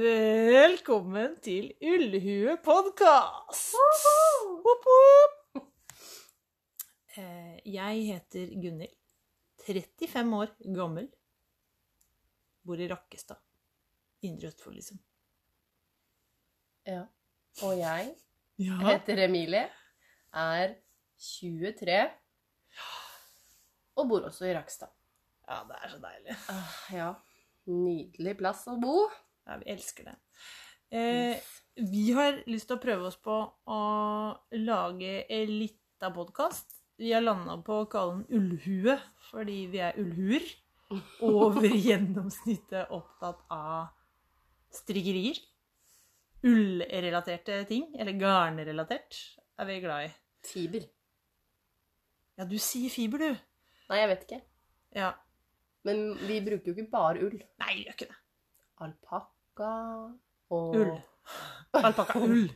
Velkommen til Ullhue podkast! Hopp, hopp. Eh, Jeg heter Gunhild. 35 år gammel. Bor i Rakkestad. Indre Østfold, liksom. Ja. Og jeg Ja. heter Emilie, er 23 og bor også i Rakstad. ja, det er så deilig. Ah, ja. Nydelig plass å bo. Ja, vi elsker det. Eh, vi har lyst til å prøve oss på å lage en lita podkast. Vi har landa på å kalle den Ullhue fordi vi er ullhuer. Over gjennomsnittet opptatt av strikkerier. Ullrelaterte ting, eller garnrelatert, er vi glad i. Fiber. Ja, du sier fiber, du. Nei, jeg vet ikke. Ja. Men vi bruker jo ikke bare ull. Nei, gjør ikke det. Alpakka og Ull. Alpakkaull.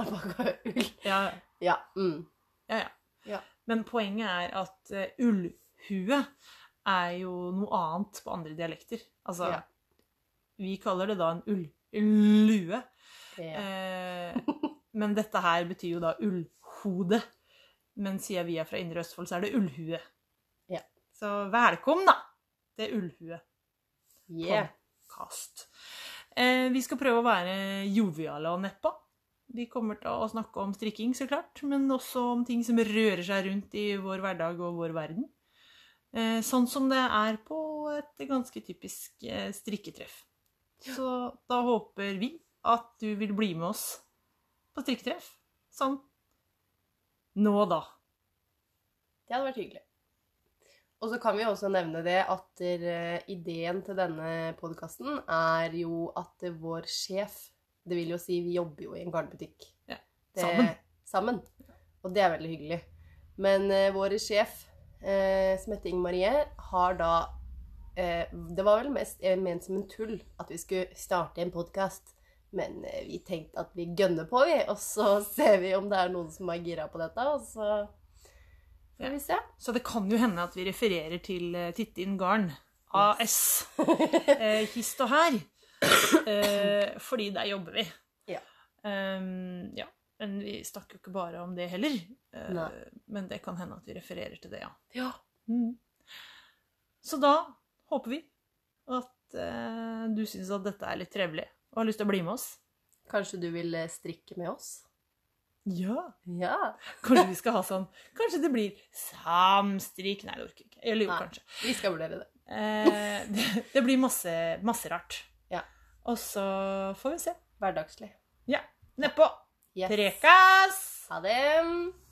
Alpakkaull. Ja, Ja. Mm. Ja, ja. Ja. Men poenget er at eh, ullhue er jo noe annet på andre dialekter. Altså, Ja. vi kaller det da en ull-lue. Ja. Eh, men dette her betyr jo da ullhode. Men siden vi er fra Indre Østfold, så er det ullhue. Ja. Så velkommen, da, til ullhue Yeah. podkast. Eh, vi skal prøve å være joviale og neppa. Vi kommer til å snakke om strikking, så klart, men også om ting som rører seg rundt i vår hverdag og vår verden. Eh, sånn som det er på et ganske typisk eh, strikketreff. Så da håper vi at du vil bli med oss på strikketreff. Sånn nå, da. Det hadde vært hyggelig. Og så kan vi også nevne det at eh, ideen til denne podkasten er jo at eh, vår sjef Det vil jo si vi jobber jo i en garnbutikk. Ja, Det- sammen. Sammen. Og det er veldig hyggelig. Men eh, vår sjef, eh, som heter Inger Marie, har da eh, Det var vel mest eh, ment som en tull at vi skulle starte en podkast. Men eh, vi tenkte at vi gønner på, vi. Og så ser vi om det er noen som er gira på dette. Og så Ja. får vi se. Så det kan jo hende at vi refererer til eh, Tittin Garn AS. Eh, hist og her. Eh, fordi der jobber vi. Ja. Ehm, ja. Men vi snakker jo ikke bare om det heller. Eh, Nei. men det kan hende at vi refererer til det, ja. Mm. Ja. Så da håper vi at eh, du syns at dette er litt trevelig og har lyst til å bli med oss. Kanskje du vil eh, strikke med oss? Ja. Ja. Kanskje vi skal ha sånn Kanskje det blir samstrikk Nei, det orker jeg ikke. Eller jo, Nei. kanskje. Vi skal vurdere det. Eh, det, det blir masse, masse rart. Ja. Og så får vi se. Hverdagslig. Nedpå! Yes. Prekas! Ha det.